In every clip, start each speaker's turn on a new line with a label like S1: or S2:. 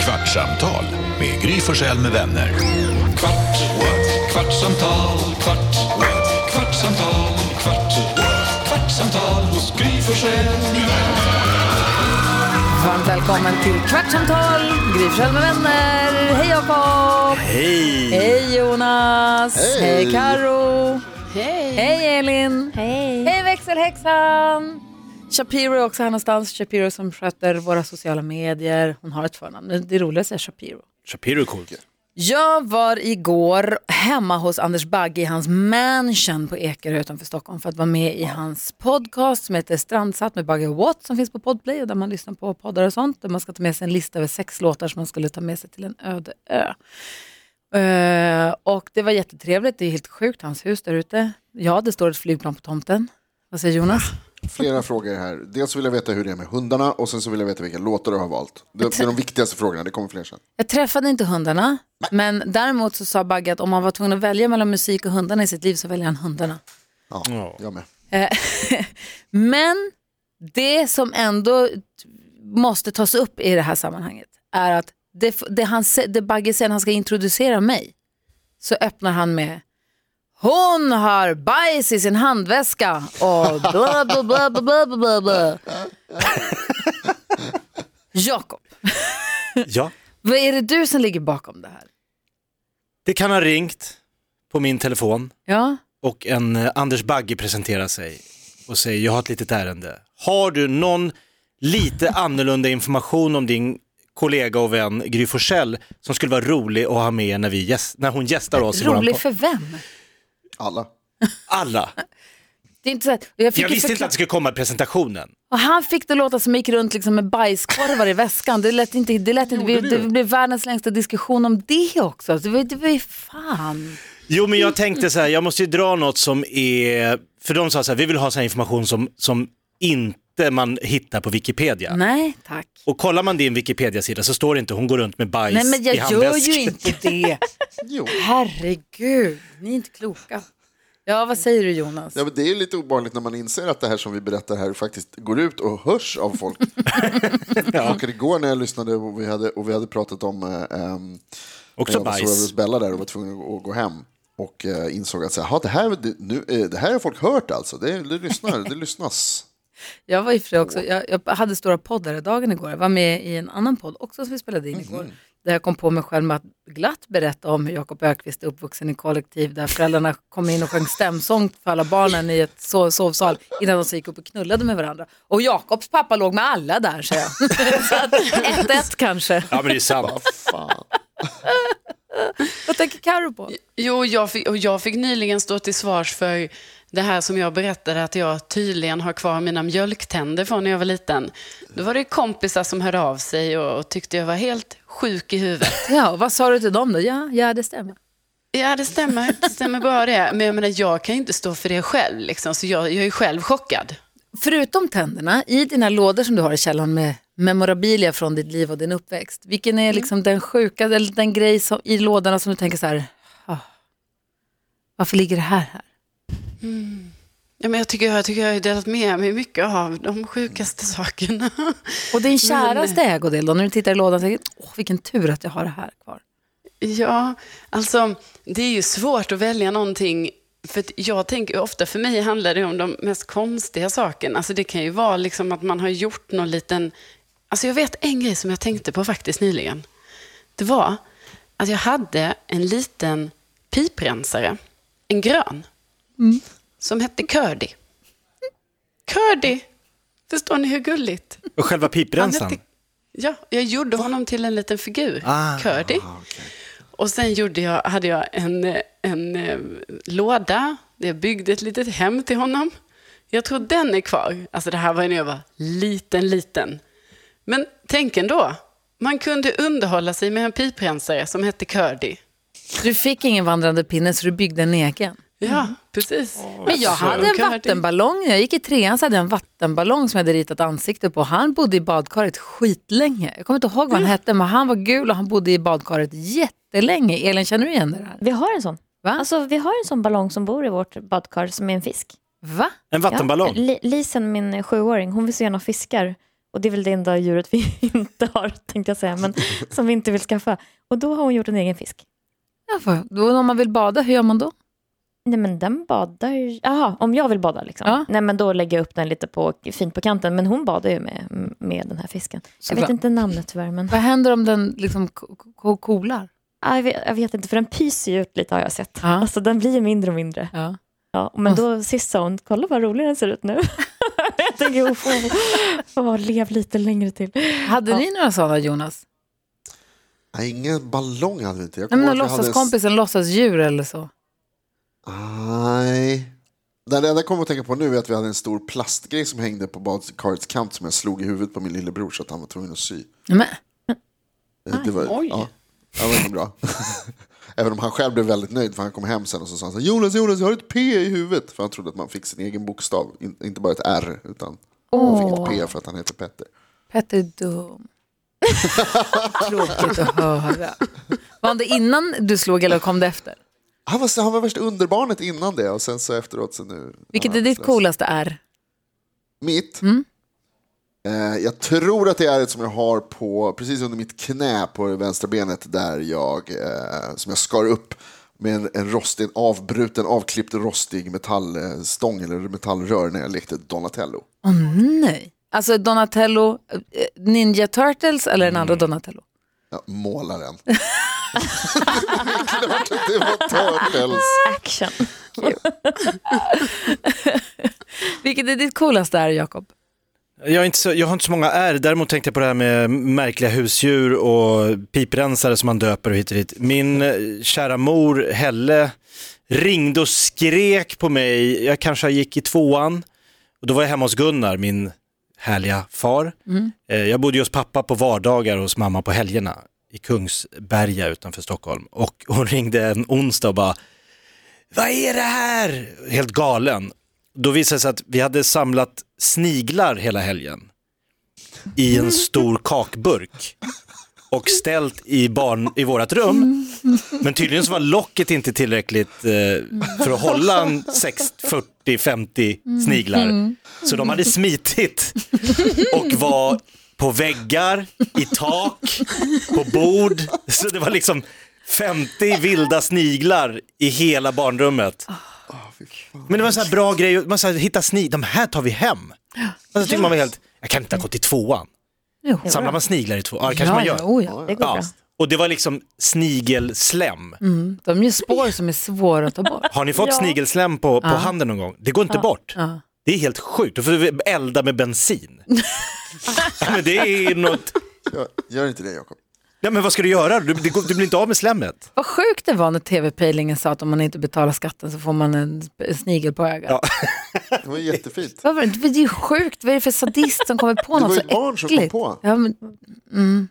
S1: Kvartsamtal med Gry Forssell med vänner.
S2: Kvart, what? kvartsamtal, kvart, what? kvartsamtal, kvart, what? kvartsamtal hos Gry Forssell med vänner.
S3: Varmt välkommen till Kvartsamtal, Gry Forssell med vänner. Hej Jakob! Hej! Hej Jonas! Hej, Karo. Hej! Hej Elin! Hej! Hej växelhäxan! Shapiro är också här någonstans. Shapiro som sköter våra sociala medier. Hon har ett förnamn, men det roligaste är Shapiro.
S4: Shapiro är coolt.
S3: Jag var igår hemma hos Anders Bagge i hans mansion på Ekerö utanför Stockholm för att vara med i hans podcast som heter Strandsatt med Bagge och Watt som finns på Podplay och där man lyssnar på poddar och sånt. Där man ska ta med sig en lista över sex låtar som man skulle ta med sig till en öde ö. Eh, och det var jättetrevligt, det är helt sjukt, hans hus där ute. Ja, det står ett flygplan på tomten. Vad säger Jonas?
S5: Flera frågor här. Dels vill jag veta hur det är med hundarna och sen så vill jag veta vilka låtar du har valt. Det, det är de viktigaste frågorna, det kommer fler sen.
S3: Jag träffade inte hundarna, men däremot så sa Bagge att om man var tvungen att välja mellan musik och hundarna i sitt liv så väljer han hundarna.
S5: Ja, jag med.
S3: Eh, Men det som ändå måste tas upp i det här sammanhanget är att det, det, han, sä- det Bagge säger när han ska introducera mig så öppnar han med hon har bajs i sin handväska och bla bla bla bla bla bla bla. Jakob,
S4: Ja.
S3: vad är det du som ligger bakom det här?
S4: Det kan ha ringt på min telefon
S3: Ja,
S4: och en eh, Anders Bagge presenterar sig och säger jag har ett litet ärende. Har du någon lite annorlunda information om din kollega och vän Gry Forssell som skulle vara rolig att ha med när, vi gäst, när hon gästar oss i våran
S3: rolig
S4: podd?
S3: för vem?
S5: Alla.
S4: Alla.
S3: Det är inte så att, jag fick
S4: Jag
S3: ju
S4: visste inte
S3: förkla-
S4: att det skulle komma i presentationen.
S3: Och han fick det låta som gick runt liksom med bajskorvar i väskan. Det lät inte, det lät inte, det, det blev världens längsta diskussion om det också. Det var, det var ju fan.
S4: Jo men jag tänkte så här, jag måste ju dra något som är, för de sa så här, vi vill ha sån här information som, som inte man hittar på Wikipedia.
S3: Nej, tack.
S4: Och kollar man din Wikipedia-sida så står det inte hon går runt med bajs
S3: Nej, men
S4: i
S3: jag gör
S4: handväsk.
S3: ju inte det.
S5: Jo.
S3: Herregud, ni är inte kloka. Ja, vad säger du Jonas?
S5: Ja, men det är lite obehagligt när man inser att det här som vi berättar här faktiskt går ut och hörs av folk. Och igår när jag lyssnade och vi hade, och vi hade pratat om eh, ehm,
S4: Också
S5: när jag var
S4: bajs.
S5: sov över hos Bella där och var tvungen att gå hem och eh, insåg att så här, "Ha, det, här, det, nu, eh, det här har folk hört alltså. Det, det, lyssnar, det lyssnas.
S3: Jag var i och för sig också, jag, jag hade stora poddaredagen igår. Jag var med i en annan podd också som vi spelade in igår. Där jag kom på mig själv med att glatt berätta om hur Jakob Ökvist är uppvuxen i kollektiv där föräldrarna kom in och sjöng stämsång för alla barnen i ett so- sovsal innan de så gick upp och knullade med varandra. Och Jakobs pappa låg med alla där, säger jag. så att 1-1 kanske.
S4: Ja men det är sant.
S5: Fan.
S3: Vad tänker Carro på?
S6: Jo, jag fick, och jag fick nyligen stå till svars för det här som jag berättade att jag tydligen har kvar mina mjölktänder från när jag var liten. Då var det kompisar som hörde av sig och, och tyckte jag var helt sjuk i huvudet.
S3: Ja, vad sa du till dem då? Ja, ja det stämmer.
S6: Ja, det stämmer. Det stämmer bra det. Men jag menar, jag kan ju inte stå för det själv, liksom, så jag, jag är själv chockad.
S3: Förutom tänderna, i dina lådor som du har i källaren med memorabilia från ditt liv och din uppväxt, vilken är liksom den sjuka, eller den grej som, i lådorna som du tänker så här, "Ah, varför ligger det här här?
S6: Ja, men jag, tycker, jag tycker jag har delat med mig mycket av de sjukaste sakerna.
S3: Och din käraste ägodel då, när du tittar i lådan, tänker du, åh vilken tur att jag har det här kvar.
S6: Ja, alltså det är ju svårt att välja någonting. För att jag tänker ju ofta, för mig handlar det om de mest konstiga sakerna. Alltså det kan ju vara liksom att man har gjort någon liten... Alltså jag vet en grej som jag tänkte på faktiskt nyligen. Det var att jag hade en liten piprensare, en grön, som hette Curdy. Curdy! Förstår ni hur gulligt?
S4: Och själva
S6: Han
S4: piprensaren.
S6: hette- Ja, jag gjorde honom till en liten figur, Curdy. Och sen gjorde jag, hade jag en, eh, en eh, låda där jag byggde ett litet hem till honom. Jag tror den är kvar. Alltså det här var ju när jag var liten, liten. Men tänk ändå, man kunde underhålla sig med en piprensare som hette Curdy.
S3: Du fick ingen vandrande pinne så du byggde en egen.
S6: Ja, precis.
S3: Men jag hade en
S6: Curdy.
S3: vattenballong, när jag gick i trean så hade jag en vattenballong som jag hade ritat ansikte på. Han bodde i badkaret skitlänge. Jag kommer inte ihåg vad han hette, men han var gul och han bodde i badkaret jättelänge. Elin, känner du igen det här?
S7: Vi har en sån.
S3: Va?
S7: Alltså, vi har en sån ballong som bor i vårt badkar som är en fisk.
S3: Va?
S4: En vattenballong.
S7: Ja, Li- Lisen, min sjuåring, hon vill så gärna ha fiskar. Och det är väl det enda djuret vi inte har, tänkte jag säga, men som vi inte vill skaffa. Och då har hon gjort en egen fisk.
S3: Ja, för, då, om man vill bada, hur gör man då?
S7: Nej men den badar ju- Jaha, om jag vill bada liksom.
S3: Ja.
S7: Nej men då lägger jag upp den lite på, fint på kanten. Men hon badar ju med, med den här fisken. jag
S3: Såklart.
S7: vet inte namnet tyvärr men.
S3: Vad händer om den liksom ko- ko- ko- kolar?
S7: Ah, jag, vet, jag vet inte för den pyser ju ut lite har jag sett.
S3: Ja.
S7: Alltså den blir ju mindre och mindre.
S3: Ja.
S7: Ja, men då sist sa hon, kolla vad rolig den ser ut nu. jag tänker, oh, oh, lev lite längre till.
S3: Hade ni några sådana Jonas?
S5: Nej, ingen ballong hade vi inte. Jag
S3: Nej, men
S5: kommer
S3: en
S5: ihåg att vi hade en-
S3: låtsaskompis, en låtsasdjur eller så.
S5: Nej. Det enda jag kommer att tänka på nu är att vi hade en stor plastgrej som hängde på badkarets kant som jag slog i huvudet på min lillebror så att han var tvungen att sy. Eh,
S3: Men,
S5: Det var,
S6: oj.
S5: Ja, det var inte bra. Även om han själv blev väldigt nöjd för han kom hem sen och så sa han så här, Jonas, Jonas, jag har ett P i huvudet. För han trodde att man fick sin egen bokstav, in, inte bara ett R utan man fick ett P för att han heter Petter.
S3: Petter är dum. Tråkigt att höra. Var det innan du slog eller kom det efter?
S5: Han var, han var värst underbarnet innan det och sen så efteråt så nu.
S3: Vilket
S5: han
S3: är ditt
S5: arbetslös.
S3: coolaste är?
S5: Mitt?
S3: Mm.
S5: Eh, jag tror att det är ett som jag har på, precis under mitt knä på det vänstra benet där jag, eh, som jag skar upp med en, en, rost, en avbruten, avklippt rostig metallstång eller metallrör när jag lekte Donatello.
S3: Åh nej. Alltså Donatello, eh, Ninja Turtles eller den
S5: Mm.
S3: andra Donatello?
S5: Jag målar den. det är klart att det var Turtles.
S7: Action.
S3: Vilket är ditt coolaste är Jakob?
S4: Jag, är inte så, jag har inte så många R, däremot tänkte jag på det här med märkliga husdjur och piprensare som man döper och hit och dit. Min eh, kära mor, Helle, ringde och skrek på mig, jag kanske gick i tvåan, och då var jag hemma hos Gunnar, min härliga far. Eh, Jag bodde ju hos pappa på vardagar och hos mamma på helgerna i Kungsberga utanför Stockholm. Och hon ringde en onsdag och bara, vad är det här? Helt galen. Då visade det sig att vi hade samlat sniglar hela helgen i en stor kakburk och ställt i, barn, i vårt rum. Men tydligen så var locket inte tillräckligt eh, för att hålla en 40-50 sniglar. Så de hade smitit och var på väggar, i tak, på bord. Så det var liksom 50 vilda sniglar i hela barnrummet. Men det var en sån här bra grej, man så här, hitta snig, de här tar vi hem. Och så tycker man var helt, jag kan inte ha gått i tvåan.
S3: Jo.
S4: Samlar man sniglar i tvåan? Ja, det kanske man
S3: ja,
S4: gör.
S3: ja, oh, ja.
S7: Det går bra.
S4: Ja. Och det var liksom snigelslem.
S3: De gör spår som är svåra att ta bort.
S4: Har ni fått
S7: Ja.
S4: snigelslem på, på handen någon gång? Det går inte bort.
S3: Ja.
S4: Det är helt sjukt, då får du elda med bensin. Ja, men det är något...
S5: Gör, gör inte det Jakob.
S4: Ja, men vad ska du göra? Du, det går, du blir inte av med slemmet.
S3: Vad sjukt det var när tv-pejlingen sa att om man inte betalar skatten så får man en sp- snigel på ögat.
S4: Ja.
S5: Det var jättefint.
S3: Vad var det? det är ju sjukt, vad är det för sadist som kommer på
S5: Det
S3: något
S5: var
S3: så
S5: ju ett
S3: äckligt?
S5: barn som kom på.
S3: Ja, men,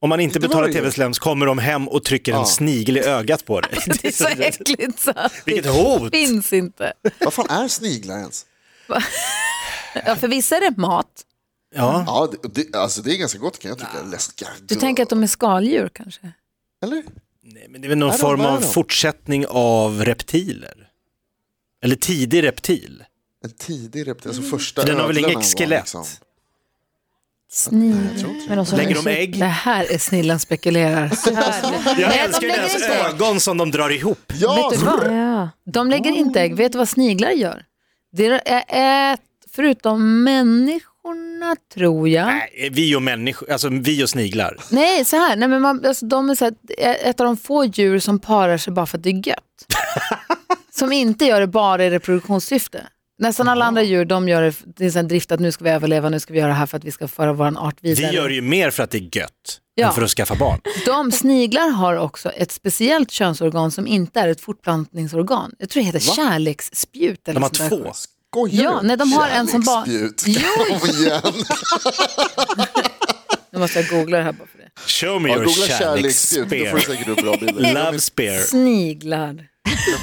S4: Om man inte
S5: Det var
S4: betalar
S5: det ju.
S4: tv-slem så kommer de hem och trycker en
S5: Ja.
S4: snigel i ögat på dig.
S3: det är så äckligt så att
S4: Vilket
S3: det
S4: hot!
S3: finns inte.
S5: Vad fan är sniglar ens?
S3: Ja, för vissa är det mat.
S4: Ja.
S5: Ja, det, det, alltså det är ganska gott kan jag tycka. Läskiga.
S3: Du tänker att de är skaldjur kanske?
S5: Eller?
S4: Nej, men det är väl någon
S5: Är de-
S4: form
S5: vad är
S4: av
S5: de?
S4: fortsättning av reptiler. Eller tidig reptil.
S5: En tidig reptil, alltså
S3: Mm.
S5: första
S4: För den har väl
S5: ödlorna
S4: inget
S5: var liksom-
S4: skelett?
S3: Snigel.
S7: Men de som-
S4: Lägger de ägg?
S3: Det här är snillen spekulerar. Så här. Nej,
S4: Jag
S3: de
S4: älskar ju
S3: lägger
S4: deras
S3: inte ägg.
S4: ögon som de drar ihop.
S5: Ja,
S3: Vet du vad?
S7: Ja.
S3: De lägger inte ägg. Vet du vad sniglar gör? Det är ät, förutom människorna tror jag.
S4: Nej, vi och människor, alltså vi och sniglar.
S3: Nej, så här. Nej, men man, alltså, de är så här, ett av de få djur som parar sig bara för att det är gött. som inte gör det bara i reproduktionssyfte. Nästan alla andra djur de gör det till en drift att nu ska vi överleva, nu ska vi göra det här för att vi ska föra vår art
S4: Vi
S3: vidare.
S4: gör det ju mer för att det är gött
S3: Ja.
S4: än för att skaffa barn.
S3: De sniglar har också ett speciellt könsorgan som inte är ett fortplantningsorgan. Jag tror det heter kärleksspjut. Eller
S4: De har
S3: sånt där
S4: två.
S5: Skojar
S3: Ja,
S5: du?
S3: nej, de har en som bara-
S5: Kärleksspjut.
S3: Jo.
S5: Kom igen.
S3: Nu måste jag googla det här bara för det.
S4: Show me
S5: Ja,
S4: your
S5: googla kärleksspjut, då får du
S4: kärleksspear.
S5: säkert upp bra bilder.
S4: Love spear.
S3: Sniglar.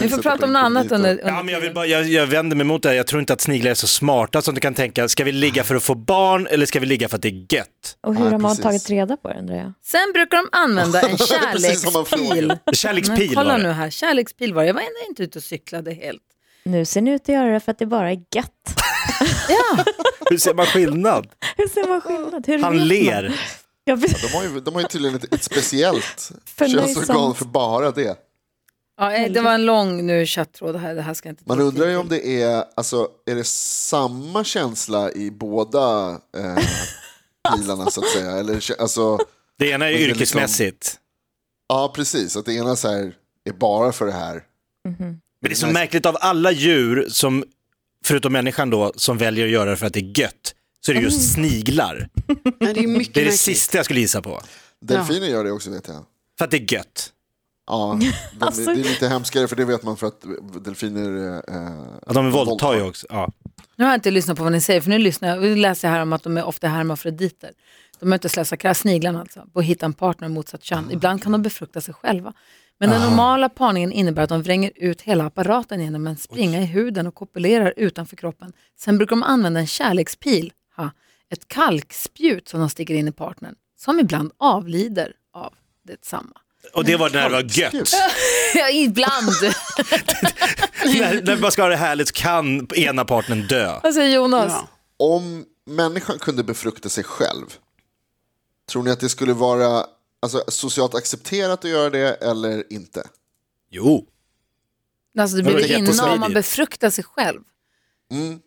S3: Vi får prata om något annat under, under
S4: Ja, men jag, vill
S3: tiden.
S4: bara, jag, jag vänder mig mot det här, jag tror inte att sniglar är så smarta som du kan tänka. Ska vi ligga för att få barn eller ska vi ligga för att det är gött?
S7: Och hur
S5: Ja,
S7: har man
S5: precis.
S7: tagit reda på det undrar jag?
S3: Sen brukar de använda en
S5: precis vad man
S3: kärlekspil.
S4: Kärlekspil
S3: Men kolla
S4: var
S3: nu
S4: det.
S3: här, kärlekspil var det. Jag var ändå inte ute och cyklade helt.
S7: Nu ser ni ut att göra det för att det bara är gött.
S3: Ja,
S4: Hur ser man skillnad?
S7: Hur ser man skillnad? Hur vet
S4: Han
S7: man?
S4: ler.
S7: Jag vet-
S5: De har ju, de har ju tydligen ett, ett speciellt
S7: Förnöjsamt.
S5: könsorgan för bara det.
S3: ja eh, det var en lång nu chattråd här. Det här ska jag inte ta
S5: Man undrar ju
S3: tid
S5: om det är, alltså, är det samma känsla i båda eh, pilarna så att säga? Eller, kä- alltså,
S4: Det ena är
S5: det liksom-
S4: yrkesmässigt.
S5: ja, precis. Att det ena så här är bara för det här.
S4: Men det är så märkligt av alla djur, som, förutom människan då, som väljer att göra det för att det är gött, så är det just sniglar.
S6: Ja, det är mycket
S4: Det är det
S6: märkligt.
S4: sista jag skulle gissa på.
S5: Delfiner gör det också vet jag.
S4: För att det är gött.
S5: Ja, de,
S7: Alltså-
S5: Det är lite hemskare för det vet man för att delfiner... Eh,
S4: Att de våldtar ju också. Ja.
S3: Nu har jag inte lyssnat på vad ni säger, för nu, lyssnar jag, nu läser jag här om att de är ofta hermafroditer. De möter slösa kraft, sniglarna alltså, på att hitta en partner av motsatt kön. Ibland kan de befrukta sig själva. Men den normala parningen innebär att de vränger ut hela apparaten genom en springa i huden och kopulerar utanför kroppen. Sen brukar de använda en kärlekspil, ha, ett kalkspjut som de sticker in i partnern, som ibland avlider av detsamma.
S4: Och det var när det var gött.
S3: Ja, ibland,
S4: när, när man ska ha det härligt så kan ena partnern dö.
S3: vad säger Jonas?
S6: Ja.
S5: Om människan kunde befrukta sig själv, tror ni att det skulle vara alltså, socialt accepterat att göra det eller inte?
S4: Jo.
S3: Alltså det
S4: Det
S3: blir
S4: var
S3: väl inne om man
S4: jättesmidigt.
S3: befruktar sig själv. Alltså
S5: Mm.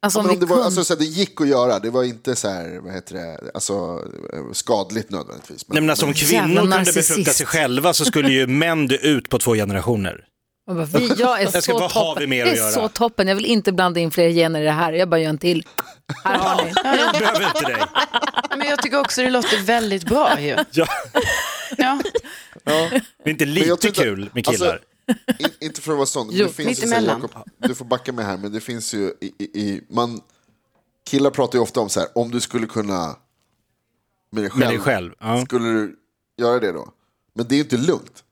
S5: Ja,
S3: om
S5: men
S3: vi
S5: om det, var,
S3: kunde.
S5: alltså, så här, det gick att göra, det var inte så här, vad heter det, alltså, eh, skadligt nödvändigtvis. Men,
S4: Nej, men alltså, om
S3: Jävla
S4: kvinnor kunde
S3: narcissist.
S4: befrukta sig själva så skulle ju män dö ut på två generationer.
S3: Man bara, vi, jag är
S4: Jag ska-
S3: så
S4: vad har
S3: toppen.
S4: vi mer
S3: det
S4: att
S3: är
S4: göra?
S3: så toppen, jag vill inte blanda in fler gener i det här. Jag bara gör en till. Här har ni.
S4: Jag behöver inte dig.
S6: Men jag tycker också det låter väldigt bra ju.
S4: Ja,
S6: Ja,
S4: det är inte
S5: jag
S4: lite
S5: tror inte-
S4: kul med killar.
S5: alltså, in, inte för att vara sån, men
S3: Jo,
S5: det finns ju,
S6: mitt
S5: så här,
S6: emellan.
S5: Jakob, du får backa mig här, men det finns ju i, i, i man, killar pratar ju ofta om så här, om du skulle kunna med dig själv,
S4: med dig själv. Ja.
S5: skulle du göra det då? Men det är ju inte lugnt.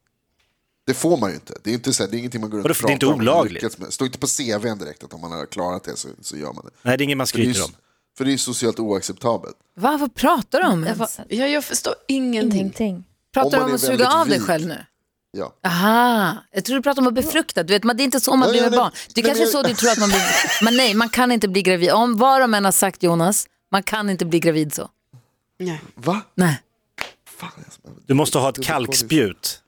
S5: Det får man ju inte. Det är, inte så här, det är ingenting man går runt
S4: Vadå,
S5: och
S4: för det är inte
S5: pratar om och
S4: olagligt?
S5: lyckats med. Står inte på CVn direkt att om man har klarat det så, så gör man det.
S4: Nej, det är ingen man
S5: För det är ju,
S4: skryter om.
S5: för det är ju socialt oacceptabelt.
S3: Va, vad pratar du om?
S7: Jag
S3: ens?
S7: var-
S6: ja jag förstår ingenting.
S7: Ingenting.
S3: Pratar
S5: Om
S3: du
S5: man
S3: om
S5: är
S3: att suga
S5: väldigt
S3: av dig
S5: vit.
S3: själv nu?
S5: Ja.
S3: Aha, jag tror du pratar om att befrukta. Du vet, man, det är inte så man
S5: Nej,
S3: blir med
S5: nej,
S3: barn. Det
S5: nej,
S3: kanske är
S5: men
S3: så
S5: jag-
S3: du tror att man blir. Men nej, man kan inte bli gravid. Om vad de än har sagt Jonas, man kan inte bli gravid så.
S6: Nej.
S5: Va?
S3: Nej.
S5: Fan, jag
S4: Du måste ha ett kalkspjut.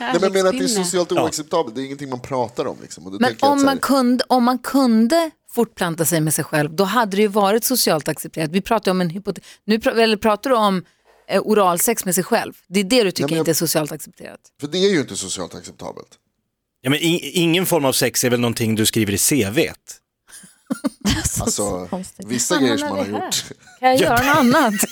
S5: Nej, men jag menar att det är
S6: Kärlekspinne.
S5: socialt oacceptabelt. Det är ingenting man pratar om. Liksom. Och då
S3: Men
S5: tänker jag att
S3: om
S5: så här,
S3: man, kunde, om man kunde fortplanta sig med sig själv, då hade det ju varit socialt accepterat. Vi pratar ju om en hypotes. Nu pra- eller pratar du om eh, oralsex med sig själv. Det är det du tycker
S5: men jag-
S3: inte är socialt accepterat.
S5: För det är ju inte socialt acceptabelt.
S4: Ja, men i- ingen form av sex är väl någonting du skriver i CVt?
S5: Alltså,
S7: konstigt.
S5: vissa
S3: Fan,
S5: grejer
S3: han
S5: som man
S3: är
S5: har
S3: här.
S5: gjort.
S3: Kan jag göra något annat?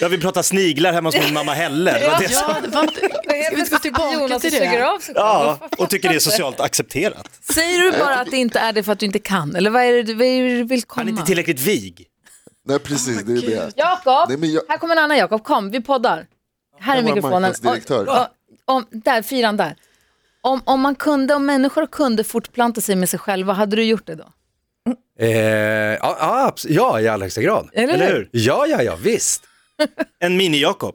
S4: Ja, vi pratar sniglar hemma hos min mamma Helle. Det var det som...
S6: Ja, det var inte... Ska vi inte gå tillbaka till det?
S3: av sig
S4: Ja, och tycker det är socialt accepterat.
S3: Säger du bara att det inte är det för att du inte kan? Eller vad är det du, vad är det du vill
S4: Han är inte
S3: komma?
S4: tillräckligt vig.
S5: Nej, precis. det är ju det. Nej,
S3: Jakob,
S5: men jag-
S3: här kommer en annan Jakob. Kom, vi poddar. Här är
S5: var
S3: mikrofonen.
S5: marknadsdirektör.
S3: Och- och- Om, där, fyran där. Om, om man kunde, om människor kunde fortplanta sig med sig själva, hade du gjort det då?
S8: Eh, ja, ja, abs- ja, i allra högsta grad.
S3: Eller,
S4: Eller
S3: hur?
S4: hur?
S8: Ja, ja, ja, visst.
S4: En mini-Jakob.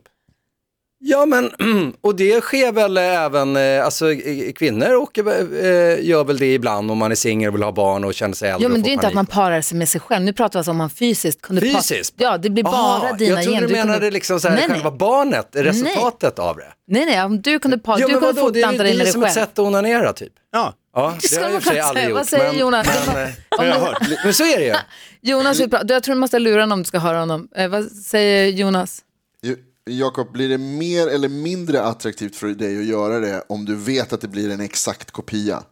S8: Ja, men och det sker väl även, eh, alltså eh, kvinnor och, eh, gör väl det ibland om man är singel och vill ha barn och känner sig äldre
S3: Ja, men det är
S8: och får
S3: ju inte att
S8: panik.
S3: man parar sig med sig själv. Nu pratar vi alltså om man fysiskt kunde pa-
S8: Fysiskt?
S3: Ja, det blir bara
S8: Aha,
S3: dina
S8: Jag trodde
S3: gener.
S8: du menade
S3: kunde...
S8: liksom så här,
S3: nej,
S8: själva
S3: nej.
S8: barnet, resultatet av det.
S3: nej, nej, om du kunde para, du
S8: men
S3: kunde
S8: vadå, det är ju
S3: fortplanta dig
S8: det
S3: med
S8: är
S3: dig
S8: som ett
S3: själv.
S8: sätt att onanera typ.
S4: Ja,
S8: Ja, det
S3: skulle
S8: har jag i
S3: man
S8: och för
S3: kunna
S8: sig aldrig
S3: säga.
S8: gjort.
S3: Vad säger
S8: men,
S3: Jonas?
S8: Men, eh,
S4: har jag hört.
S8: men så är det ju.
S3: Jonas vill prata. Jag tror du måste lura honom om du ska höra honom. Eh, vad säger Jonas?
S5: Jo- Jakob, blir det mer eller mindre attraktivt för dig att göra det om du vet att det blir en exakt kopia?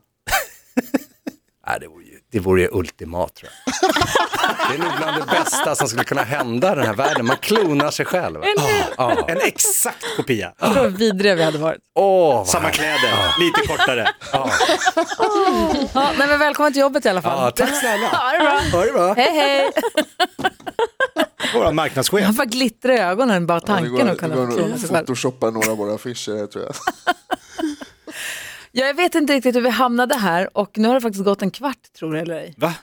S8: Nej, det vore ju, det vore ju ultimat tror jag. Det är nog bland det bästa som skulle kunna hända i den här världen. Man klonar sig själv. Ja, ja.
S4: En exakt kopia.
S3: Vad vidriga vi hade varit.
S8: Åh, vad
S4: Samma
S8: härligt.
S4: kläder, lite kortare.
S3: Ja, nej, men välkommen till jobbet i alla fall.
S8: Ja, tack snälla.
S3: Ha det bra.
S8: Ha det bra.
S3: Hej, hej.
S4: Vår marknadschef.
S3: Han får glittra i ögonen bara
S5: det
S3: tanken
S5: går,
S3: att
S5: det
S3: kunna
S5: går nog
S3: förklara
S5: att
S3: sig själv.
S5: photoshoppa några av våra affischer, tror jag.
S3: Ja, jag vet inte riktigt hur vi hamnade här och nu har det faktiskt gått en kvart tror jag eller ej.
S4: Va?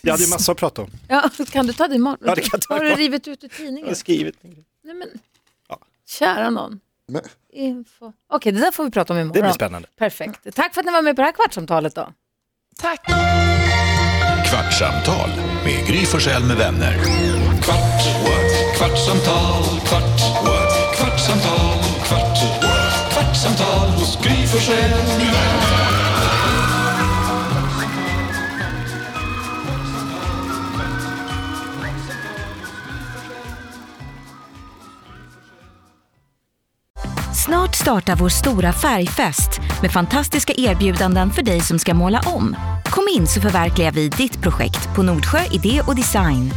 S4: Jag hade ju massor att prata om.
S3: Ja, kan du ta din imorgon?
S4: Ja, det kan jag ta
S3: har du
S4: imorgon.
S3: rivit ut ur tidningen?
S4: skrivit.
S3: Nej, men, kära någon.
S5: Men,
S3: Info. Okej, det där får vi prata om imorgon.
S4: Det blir spännande.
S3: Perfekt. Tack för att ni var med på det här kvartsamtalet då.
S6: Tack!
S1: Kvartsamtal med Gry Forssell med vänner.
S2: Kvart, what? kvartsamtal, kvart, what? kvartsamtal, kvart, what? kvartsamtal hos Gry Forssell med vänner.
S9: Snart startar vår stora färgfest med fantastiska erbjudanden för dig som ska måla om. Kom in så förverkligar vi ditt projekt på Nordsjö Idé och Design.